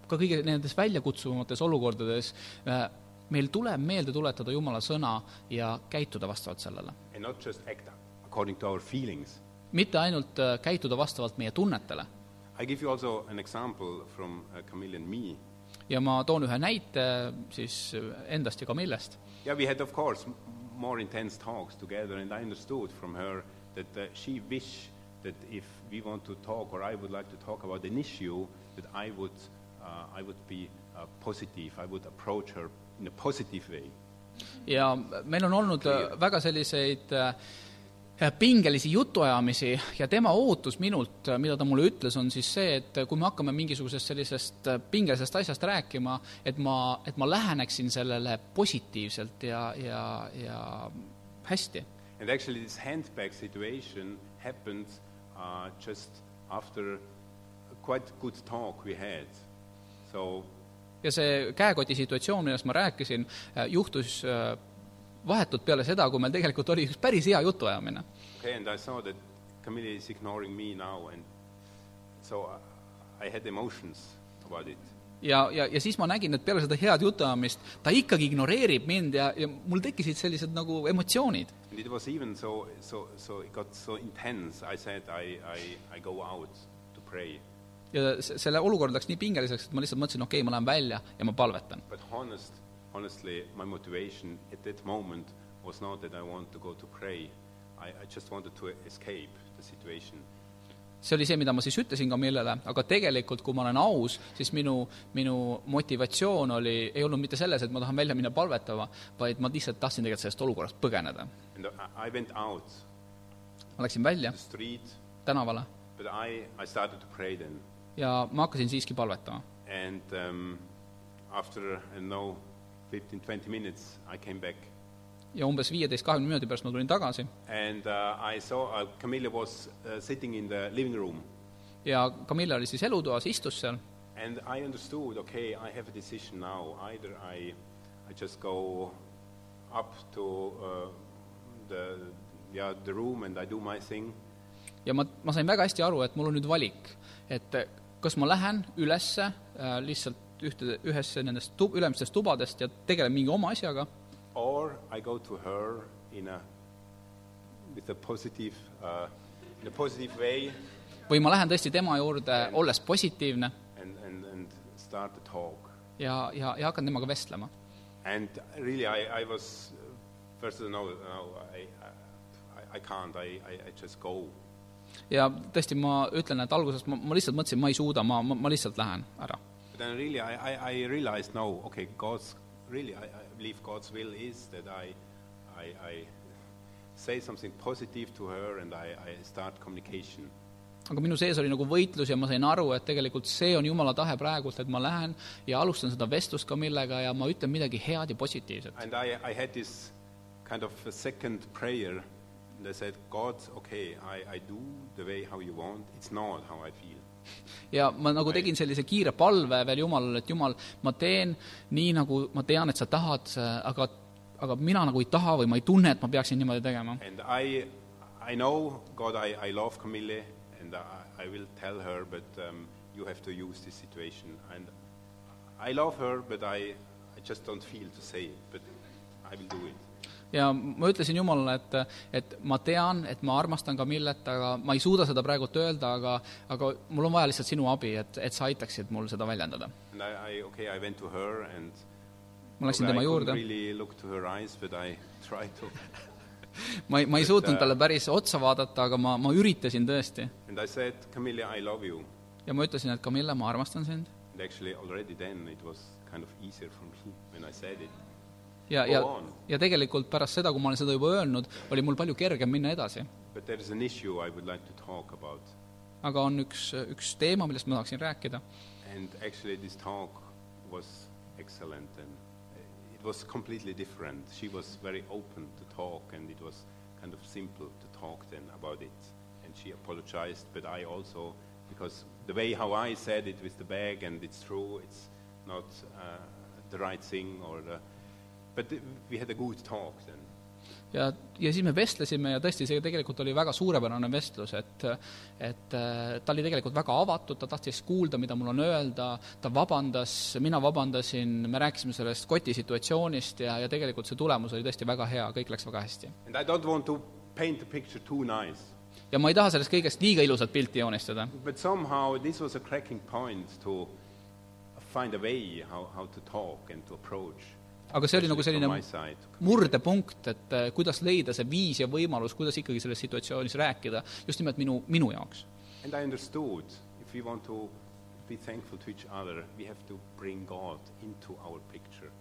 [SPEAKER 2] ka kõige nendes väljakutsuvates olukordades äh, meil tuleb meelde tuletada Jumala sõna ja käituda vastavalt sellele.
[SPEAKER 1] And not just act according to our feelings.
[SPEAKER 2] mitte ainult äh, käituda vastavalt meie tunnetele.
[SPEAKER 1] I give you also an example from uh, Camille and me.
[SPEAKER 2] ja ma toon ühe näite äh, siis endast ja ka millest
[SPEAKER 1] Yeah, we had, of course, m- more intense talks together, and I understood from her that uh, she wished that if we want to talk, or I would like to talk about an issue, that I would, uh, I would be uh, positive. I would approach her in a positive way.
[SPEAKER 2] ja meil on olnud äh, väga selliseid äh, pingelisi jutuajamisi ja tema ootus minult , mida ta mulle ütles , on siis see , et kui me hakkame mingisugusest sellisest äh, pingelisest asjast rääkima , et ma , et ma läheneksin sellele positiivselt ja , ja , ja hästi .
[SPEAKER 1] And actually, this handbag situation happened uh, just after a quite good talk we had. So
[SPEAKER 2] ja see käekoti situatsioon , millest ma rääkisin , juhtus äh, vahetult peale seda , kui meil tegelikult oli üks päris hea jutuajamine
[SPEAKER 1] Okay, and I saw that Camille is ignoring me now, and so I, I had emotions about it.
[SPEAKER 2] ja , ja , ja siis ma nägin , et peale seda head jutuajamist ta ikkagi ignoreerib mind ja , ja mul tekkisid sellised nagu emotsioonid .
[SPEAKER 1] And it was even so, so, so it got so intense. I said, I, I, I go out to pray.
[SPEAKER 2] ja se- selle olukord läks nii pingeliseks , et ma lihtsalt mõtlesin , okei okay, , ma lähen välja ja ma palvetan .
[SPEAKER 1] But honest, honestly, my motivation at that moment was not that I want to go to pray. I, I just wanted to escape the situation.
[SPEAKER 2] see oli see , mida ma siis ütlesin ka Millele , aga tegelikult , kui ma olen aus , siis minu , minu motivatsioon oli , ei olnud mitte selles , et ma tahan välja minna palvetama , vaid ma lihtsalt tahtsin tegelikult sellest olukorrast põgeneda .
[SPEAKER 1] And I, I went out
[SPEAKER 2] ma läksin välja
[SPEAKER 1] the street,
[SPEAKER 2] tänavale
[SPEAKER 1] but I, I started to pray then.
[SPEAKER 2] ja ma hakkasin siiski palvetama .
[SPEAKER 1] And um, after, I don't know, 15, 20 minutes, I came back.
[SPEAKER 2] ja umbes viieteist , kahekümne minuti pärast ma tulin tagasi
[SPEAKER 1] And uh, I saw uh, Camilla was uh, sitting in the living room.
[SPEAKER 2] ja Camilla oli siis elutoas , istus seal
[SPEAKER 1] And I understood, okay, I have a decision now. Either I, I just go up to uh, the, yeah, the room and I do my thing,
[SPEAKER 2] ja ma , ma sain väga hästi aru , et mul on nüüd valik , et eh, kas ma lähen ülesse äh, lihtsalt ühte , ühesse nendest tu- , ülemistest tubadest ja tegelen mingi oma asjaga
[SPEAKER 1] or I go to her in a, with a positive, uh, in a positive way
[SPEAKER 2] või ma lähen tõesti tema juurde , olles positiivne
[SPEAKER 1] and, and, and start the talk.
[SPEAKER 2] ja , ja , ja hakkan temaga vestlema .
[SPEAKER 1] And really, I, I was uh, first. No, no, I, I, I can't. I, I, I just go.
[SPEAKER 2] ja tõesti , ma ütlen , et alguses ma , ma lihtsalt mõtlesin , ma ei suuda , ma , ma , ma lihtsalt lähen ära .
[SPEAKER 1] But then really, I, I, I realized no. Okay, God's really. I, I believe God's will is that I, I, I say something positive to her and I, I start communication.
[SPEAKER 2] aga minu sees oli nagu võitlus ja ma sain aru , et tegelikult see on jumala tahe praegult , et ma lähen ja alustan seda vestlust ka millega ja ma ütlen midagi head ja positiivset .
[SPEAKER 1] And I, I had this kind of a second prayer. And I said, God, okay, I, I do the way how you want. It's not how I feel.
[SPEAKER 2] ja ma nagu tegin sellise kiire palve veel Jumalale , et Jumal , ma teen nii , nagu ma tean , et sa tahad , aga , aga mina nagu ei taha või ma ei tunne , et ma peaksin niimoodi tegema .
[SPEAKER 1] And I, I know, God, I, I love Camille, and I, I will tell her, but um, you have to use this situation. And I love her, but I, I just don't feel to say it, but I will do it.
[SPEAKER 2] ja ma ütlesin Jumalale , et , et ma tean , et ma armastan Camillet , aga ma ei suuda seda praegult öelda , aga , aga mul on vaja lihtsalt sinu abi , et , et sa aitaksid mul seda väljendada .
[SPEAKER 1] And I, I okay, I went to her, and
[SPEAKER 2] ma läksin
[SPEAKER 1] probably
[SPEAKER 2] tema
[SPEAKER 1] I couldn't
[SPEAKER 2] juurde
[SPEAKER 1] really look to her eyes, but I tried to.
[SPEAKER 2] ma ei , ma ei
[SPEAKER 1] Nüüd,
[SPEAKER 2] suutnud
[SPEAKER 1] äh,
[SPEAKER 2] talle päris otsa vaadata , aga ma , ma üritasin tõesti .
[SPEAKER 1] And I said, Camilla, I love you.
[SPEAKER 2] ja ma ütlesin , et Camilla , ma armastan sind .
[SPEAKER 1] And actually, already then it was kind of easier for me when I said it.
[SPEAKER 2] ja ,
[SPEAKER 1] Go
[SPEAKER 2] ja
[SPEAKER 1] on. ,
[SPEAKER 2] ja tegelikult pärast seda , kui ma olen seda juba öelnud , oli mul palju kergem minna edasi .
[SPEAKER 1] But there is an issue I would like to talk about.
[SPEAKER 2] aga on üks , üks teema , millest ma tahaksin rääkida
[SPEAKER 1] And actually, this talk was excellent and it was completely different. She was very open to talk and it was kind of simple to talk then about it. And she apologized, but I also, because the way how I said it with the bag and it's true, it's not uh, the right thing or the. But we had a good talk then.
[SPEAKER 2] ja , ja siis me vestlesime ja tõesti , see tegelikult oli väga suurepärane vestlus , et et äh, ta oli tegelikult väga avatud , ta tahtis kuulda , mida mul on öelda , ta vabandas , mina vabandasin , me rääkisime sellest koti situatsioonist ja , ja tegelikult see tulemus oli tõesti väga hea , kõik läks väga hästi .
[SPEAKER 1] And I don't want to paint the picture too nice,
[SPEAKER 2] ja ma ei taha sellest kõigest liiga ilusat pilti joonistada ,
[SPEAKER 1] but somehow this was a cracking point to find a way how, how to talk and to approach.
[SPEAKER 2] aga see oli nagu
[SPEAKER 1] especially from
[SPEAKER 2] selline
[SPEAKER 1] my side.
[SPEAKER 2] murdepunkt , et äh, kuidas leida see viis ja võimalus , kuidas ikkagi selles situatsioonis rääkida , just nimelt minu , minu jaoks .
[SPEAKER 1] And I understood if we want to be thankful to each other, we have to bring God into our picture.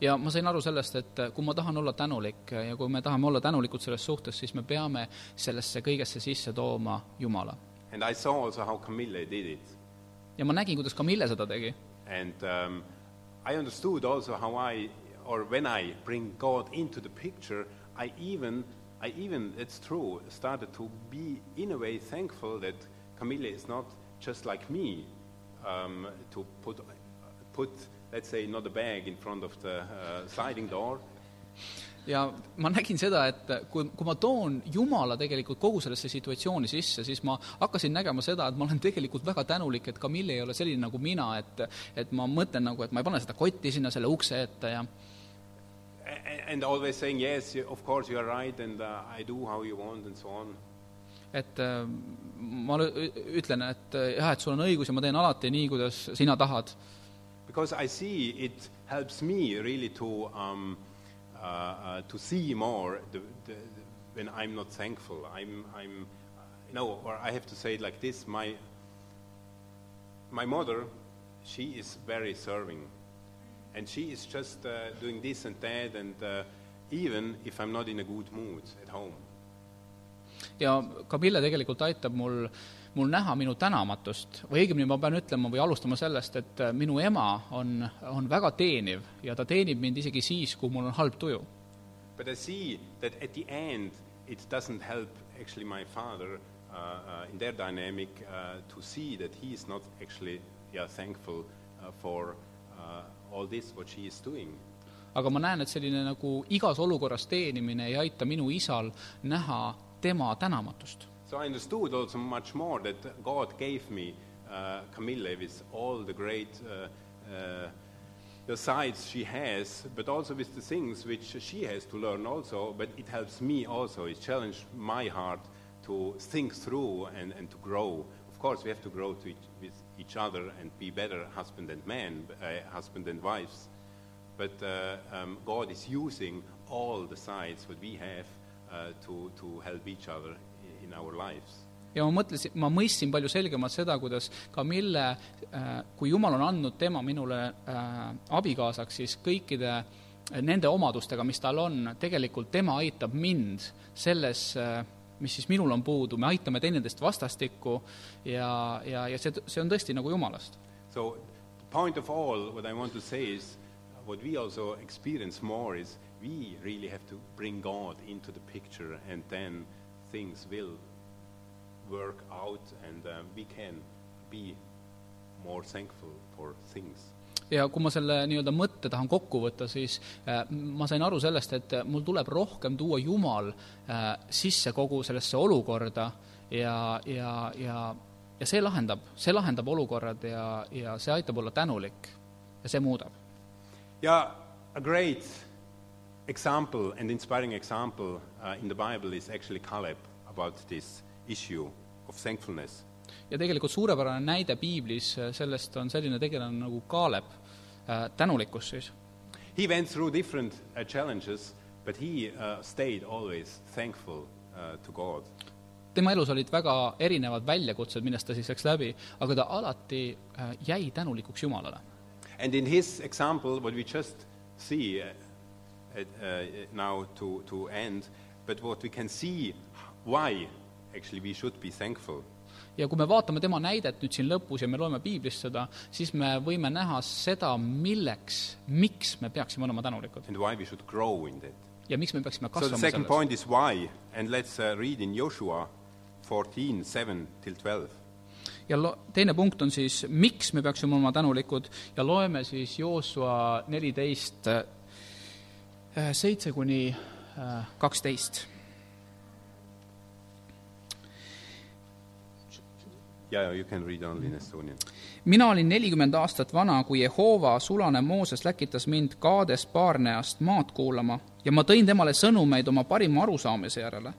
[SPEAKER 2] ja ma sain aru sellest , et äh, kui ma tahan olla tänulik ja kui me tahame olla tänulikud selles suhtes , siis me peame sellesse kõigesse sisse tooma Jumala .
[SPEAKER 1] And I saw also how Camille did it.
[SPEAKER 2] ja ma nägin , kuidas Camille seda tegi .
[SPEAKER 1] And um, I understood also how I, or when I bring God into the picture, I even, I even, it's true, started to be in a way thankful that Camille is not just like me um, to put, put, let's say, not a bag in front of the uh, sliding door,
[SPEAKER 2] ja ma nägin seda , et äh, kui , kui ma toon Jumala tegelikult kogu sellesse situatsiooni sisse , siis ma hakkasin nägema seda , et ma olen tegelikult väga tänulik , et Camille ei ole selline nagu mina , et et ma mõtlen nagu , et ma ei pane seda kotti sinna selle ukse ette ja
[SPEAKER 1] and, and always saying, yes, you- of course you are right, and uh, I do how you want, and so on.
[SPEAKER 2] et äh, ma lõ- ütlen , et äh, jah , et sul on õigus ja ma teen alati nii , kuidas sina tahad
[SPEAKER 1] Because I see it helps me really to, um, uh, uh, to see more the, the, when I'm not thankful. I'm, I'm uh, no, or I have to say it like this my, my mother, she is very serving. And she is just uh, doing this and that, and uh, even if I'm not in a good mood at home.
[SPEAKER 2] ja Kabile tegelikult aitab mul , mul näha minu tänamatust või õigemini ma pean ütlema või alustama sellest , et äh, minu ema on , on väga teeniv ja ta teenib mind isegi siis , kui mul on halb tuju .
[SPEAKER 1] But I see that at the end, it doesn't help actually my father uh, uh, in their dynamic uh, to see that he is not actually yeah, thankful uh, for uh, all this, what she is doing.
[SPEAKER 2] aga ma näen , et selline nagu igas olukorras teenimine ei aita minu isal näha tema tänamatust .
[SPEAKER 1] So I understood also much more that God gave me uh, Camille with all the great uh, uh, the sides she has, but also with the things which she has to learn also. But it helps me also. It challenged my heart to think through and, and to grow. Of course, we have to grow to each, with each other and be better husband and man, uh, husband and wives. But uh, um, God is using all the sides what we have uh, to, to help each other i- in our lives.
[SPEAKER 2] ja ma mõtlesin , ma mõistsin palju selgemalt seda , kuidas Camille , kui Jumal on andnud tema minule äh, abikaasaks , siis kõikide äh, nende omadustega , mis tal on , tegelikult tema aitab mind selles , mis siis minul on puudu , me aitame teineteist vastastikku ja , ja , ja see , see on tõesti nagu Jumalast .
[SPEAKER 1] So, the point of all, what I want to say is, uh, what we also experience more is we really have to bring God into the picture, and then things will work out, and uh, we can be more thankful for things.
[SPEAKER 2] ja kui ma selle nii-öelda mõtte tahan kokku võtta , siis äh, ma sain aru sellest , et äh, mul tuleb rohkem tuua Jumal äh, sisse kogu sellesse olukorda ja , ja , ja , ja see lahendab , see lahendab olukorrad ja , ja see aitab olla tänulik ja see muudab .
[SPEAKER 1] Yeah, a great example and inspiring example uh, in the Bible is actually Caleb about this issue of thankfulness.
[SPEAKER 2] ja tegelikult suurepärane näide piiblis äh, sellest on selline tegelane nagu Kaalep , tänulikkus siis .
[SPEAKER 1] He went through different uh, challenges, But he uh, stayed always thankful uh, to God.
[SPEAKER 2] tema elus olid väga erinevad väljakutsed, millest ta siis läks läbi , aga ta alati äh, jäi tänulikuks Jumalale .
[SPEAKER 1] And in his example, what we just see uh, at, uh, now to, to end, but what we can see why actually we should be thankful.
[SPEAKER 2] ja kui me vaatame tema näidet nüüd siin lõpus ja me loeme piiblist seda , siis me võime näha seda , milleks , miks me peaksime olema tänulikud
[SPEAKER 1] and why we should grow in that.
[SPEAKER 2] ja miks me peaksime
[SPEAKER 1] So the
[SPEAKER 2] kasvama
[SPEAKER 1] second
[SPEAKER 2] selles .
[SPEAKER 1] point is why, and let's uh, read in Joshua 14, 7 till 12.
[SPEAKER 2] ja lo- , teine punkt on siis , miks me peaksime olema tänulikud ja loeme siis Joosua neliteist , seitse kuni äh, kaksteist .
[SPEAKER 1] Yeah, yeah, you can read only in Estonian.
[SPEAKER 2] mina olin nelikümmend aastat vana , kui Jehova sulane Mooses läkitas mind Kaades Paarneast maad kuulama ja ma tõin temale sõnumeid oma parima arusaamise järele .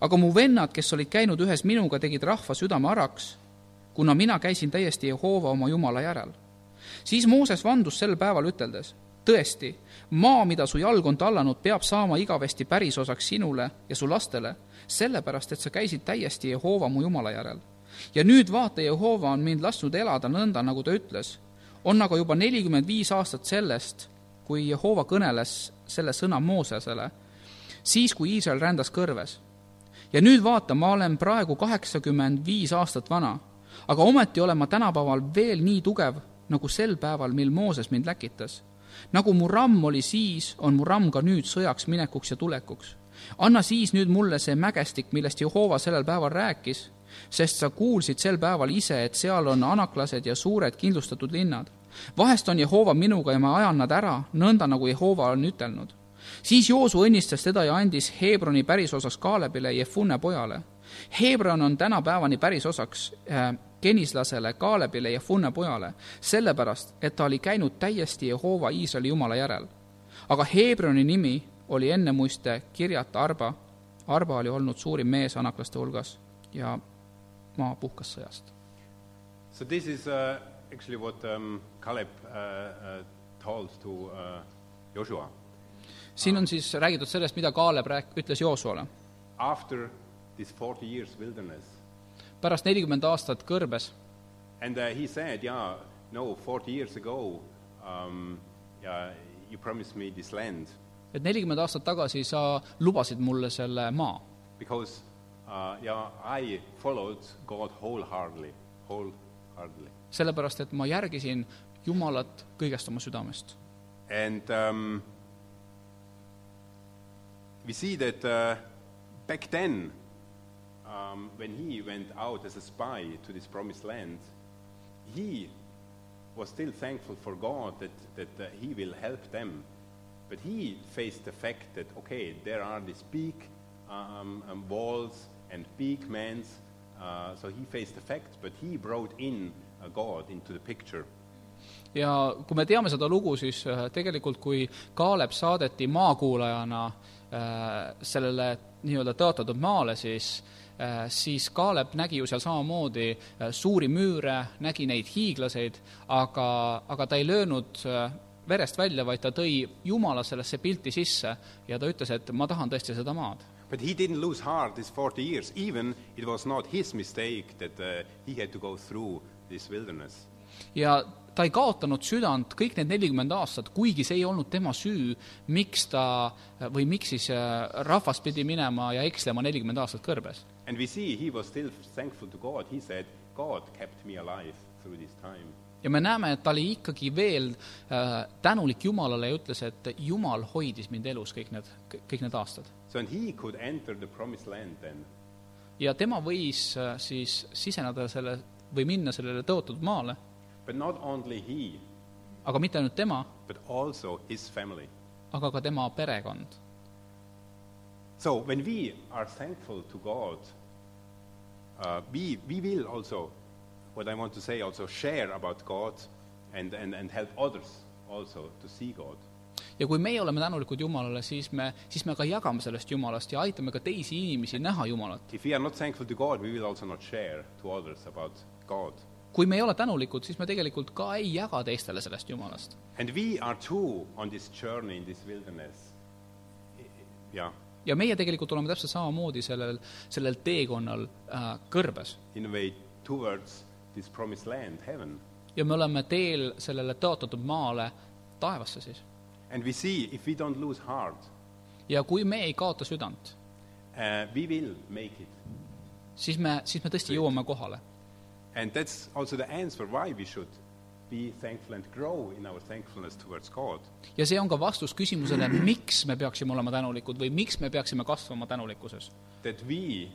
[SPEAKER 2] aga mu vennad , kes olid käinud ühes minuga , tegid rahva südame äraks , kuna mina käisin täiesti Jehova oma Jumala järel . siis Mooses vandus sel päeval üteldes , tõesti , maa , mida su jalg on tallanud , peab saama igavesti pärisosaks sinule ja su lastele , sellepärast et sa käisid täiesti Jehova mu Jumala järel . ja nüüd vaata , Jehova on mind lasknud elada nõnda , nagu ta ütles . on aga juba nelikümmend viis aastat sellest , kui Jehova kõneles selle sõna Moosesele , siis kui Iisrael rändas kõrves ja nüüd vaata , ma olen praegu kaheksakümmend viis aastat vana , aga ometi olen ma tänapäeval veel nii tugev , nagu sel päeval , mil Mooses mind läkitas . nagu mu ramm oli siis , on mu ramm ka nüüd sõjaks minekuks ja tulekuks . anna siis nüüd mulle see mägestik , millest Jehova sellel päeval rääkis , sest sa kuulsid sel päeval ise , et seal on anaklased ja suured kindlustatud linnad . vahest on Jehova minuga ja ma ajan nad ära , nõnda nagu Jehova on ütelnud siis Joosu õnnistas teda ja andis Hebroni pärisosaks Kaalebile , Jefune pojale . Hebron on tänapäevani pärisosaks äh, kenislasele Kaalebile , Jefune pojale , sellepärast et ta oli käinud täiesti Jehova Iisraeli jumala järel . aga Hebroni nimi oli enne muiste kirjata Arba . Arba oli olnud suurim mees anaklaste hulgas ja maa puhkas sõjast .
[SPEAKER 1] So this is uh, actually what um, Caleb uh, uh, told to uh, Joshua.
[SPEAKER 2] siin on siis räägitud sellest , mida Kaaleb rääk- , ütles Joosuale .
[SPEAKER 1] after this 40 years wilderness.
[SPEAKER 2] pärast nelikümmend aastat kõrbes
[SPEAKER 1] And uh, he said, yeah, no, 40 years ago, um, yeah, you promised me this land
[SPEAKER 2] et nelikümmend aastat tagasi sa lubasid mulle selle maa ,
[SPEAKER 1] because uh, yeah, I followed God wholeheartedly, wholeheartedly.
[SPEAKER 2] sellepärast et ma järgisin Jumalat kõigest oma südamest .
[SPEAKER 1] And um, we see that uh, back then, um, when he went out as a spy to this promised land, he was still thankful for God that, that uh, he will help them. But he faced the fact that, okay, there are these big um, um, walls and big men. Uh, so he faced the fact, but he brought in uh, God into the picture.
[SPEAKER 2] ja kui me teame seda lugu , siis äh, tegelikult kui Kaalep saadeti maakuulajana äh, sellele nii-öelda tõotatud maale , siis äh, siis Kaalep nägi ju seal samamoodi äh, suuri müüre , nägi neid hiiglaseid , aga , aga ta ei löönud äh, verest välja , vaid ta tõi Jumala sellesse pilti sisse ja ta ütles , et ma tahan tõesti seda maad
[SPEAKER 1] But he didn't lose heart these 40 years. Even it was not his mistake that uh, he had to go through this wilderness.
[SPEAKER 2] ja ta ei kaotanud südant kõik need nelikümmend aastat , kuigi see ei olnud tema süü , miks ta või miks siis äh, rahvas pidi minema ja ekslema nelikümmend aastat kõrbes .
[SPEAKER 1] And we see he was still thankful to God. He said, God kept me alive through this time.
[SPEAKER 2] ja me näeme , et ta oli ikkagi veel äh, tänulik Jumalale ja ütles , et Jumal hoidis mind elus kõik need , kõik need aastad .
[SPEAKER 1] So, and he could enter the promised land then.
[SPEAKER 2] ja tema võis äh, siis siseneda selle või minna sellele tõotatud maale ,
[SPEAKER 1] But not only he,
[SPEAKER 2] aga mitte ainult tema ,
[SPEAKER 1] but also his family.
[SPEAKER 2] aga ka tema perekond .
[SPEAKER 1] So, when we are thankful to God, uh, we, we will also, what I want to say, also share about God and, and, and help others also to see God.
[SPEAKER 2] ja kui meie oleme tänulikud Jumalale , siis me , siis me ka jagame sellest Jumalast ja aitame ka teisi inimesi näha Jumalat .
[SPEAKER 1] If we are not thankful to God, we will also not share to others about God.
[SPEAKER 2] kui me ei ole tänulikud , siis me tegelikult ka ei jaga teistele sellest Jumalast .
[SPEAKER 1] And we are too on this journey in this wilderness. I- yeah,
[SPEAKER 2] ja meie tegelikult oleme täpselt samamoodi sellel , sellel teekonnal äh, kõrbes
[SPEAKER 1] in a way towards this promised land, heaven.
[SPEAKER 2] ja me oleme teel sellele tõotatud maale taevasse siis .
[SPEAKER 1] And we see if we don't lose heart,
[SPEAKER 2] ja kui me ei kaota südant ,
[SPEAKER 1] uh, we will make it.
[SPEAKER 2] siis me , siis me tõesti jõuame kohale .
[SPEAKER 1] And that's also the answer why we should be thankful and grow in our thankfulness towards God.
[SPEAKER 2] ja see on ka vastus küsimusele , miks me peaksime olema tänulikud või miks me peaksime kasvama tänulikkuses .
[SPEAKER 1] That we,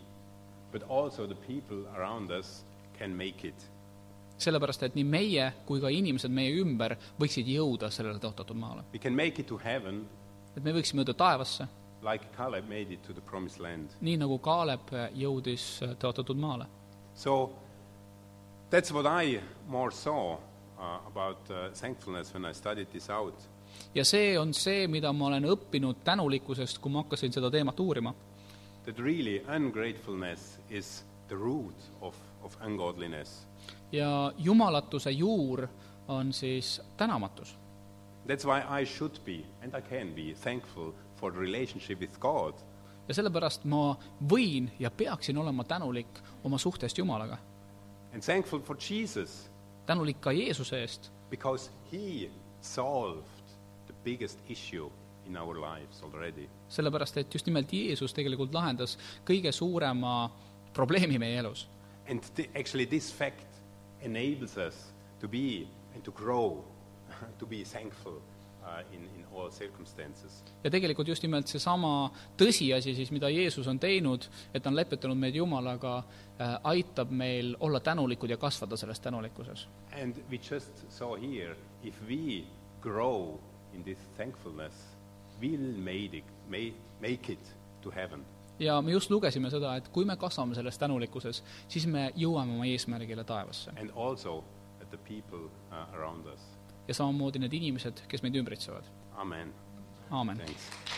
[SPEAKER 1] but also the people around us, can make it.
[SPEAKER 2] sellepärast , et nii meie kui ka inimesed meie ümber võiksid jõuda sellele tõotatud maale .
[SPEAKER 1] We can make it to heaven
[SPEAKER 2] et me võiksime jõuda taevasse ,
[SPEAKER 1] like Caleb made it to the promised land.
[SPEAKER 2] nii nagu Kaalep jõudis äh, tõotatud maale .
[SPEAKER 1] So that's what I more saw uh, about uh, thankfulness when I studied this out.
[SPEAKER 2] ja see on see , mida ma olen õppinud tänulikkusest , kui ma hakkasin seda teemat uurima .
[SPEAKER 1] That really ungratefulness is the root of, of ungodliness.
[SPEAKER 2] ja jumalatuse juur on siis tänamatus .
[SPEAKER 1] That's why I should be, and I can be, thankful for the relationship with God.
[SPEAKER 2] ja sellepärast ma võin ja peaksin olema tänulik oma suhtest Jumalaga ,
[SPEAKER 1] And thankful for Jesus,
[SPEAKER 2] tänulik ka Jeesuse eest ,
[SPEAKER 1] because He solved the biggest issue in our lives already.
[SPEAKER 2] sellepärast et just nimelt Jeesus tegelikult lahendas kõige suurema probleemi meie elus .
[SPEAKER 1] And th- actually, this fact enables us to be and to grow, to be thankful uh, in, in all circumstances.
[SPEAKER 2] ja tegelikult just nimelt seesama tõsiasi siis , mida Jeesus on teinud , et ta on lepetanud meid Jumalaga , aitab meil olla tänulikud ja kasvada selles tänulikkuses .
[SPEAKER 1] And we just saw here if we grow in this thankfulness, we'll made it, may, make it to heaven.
[SPEAKER 2] ja me just lugesime seda , et kui me kasvame selles tänulikkuses , siis me jõuame oma eesmärgile taevasse .
[SPEAKER 1] and also at the people uh, around us.
[SPEAKER 2] ja samamoodi need inimesed , kes meid ümbritsevad .
[SPEAKER 1] Amen.
[SPEAKER 2] aamen .
[SPEAKER 1] Thanks.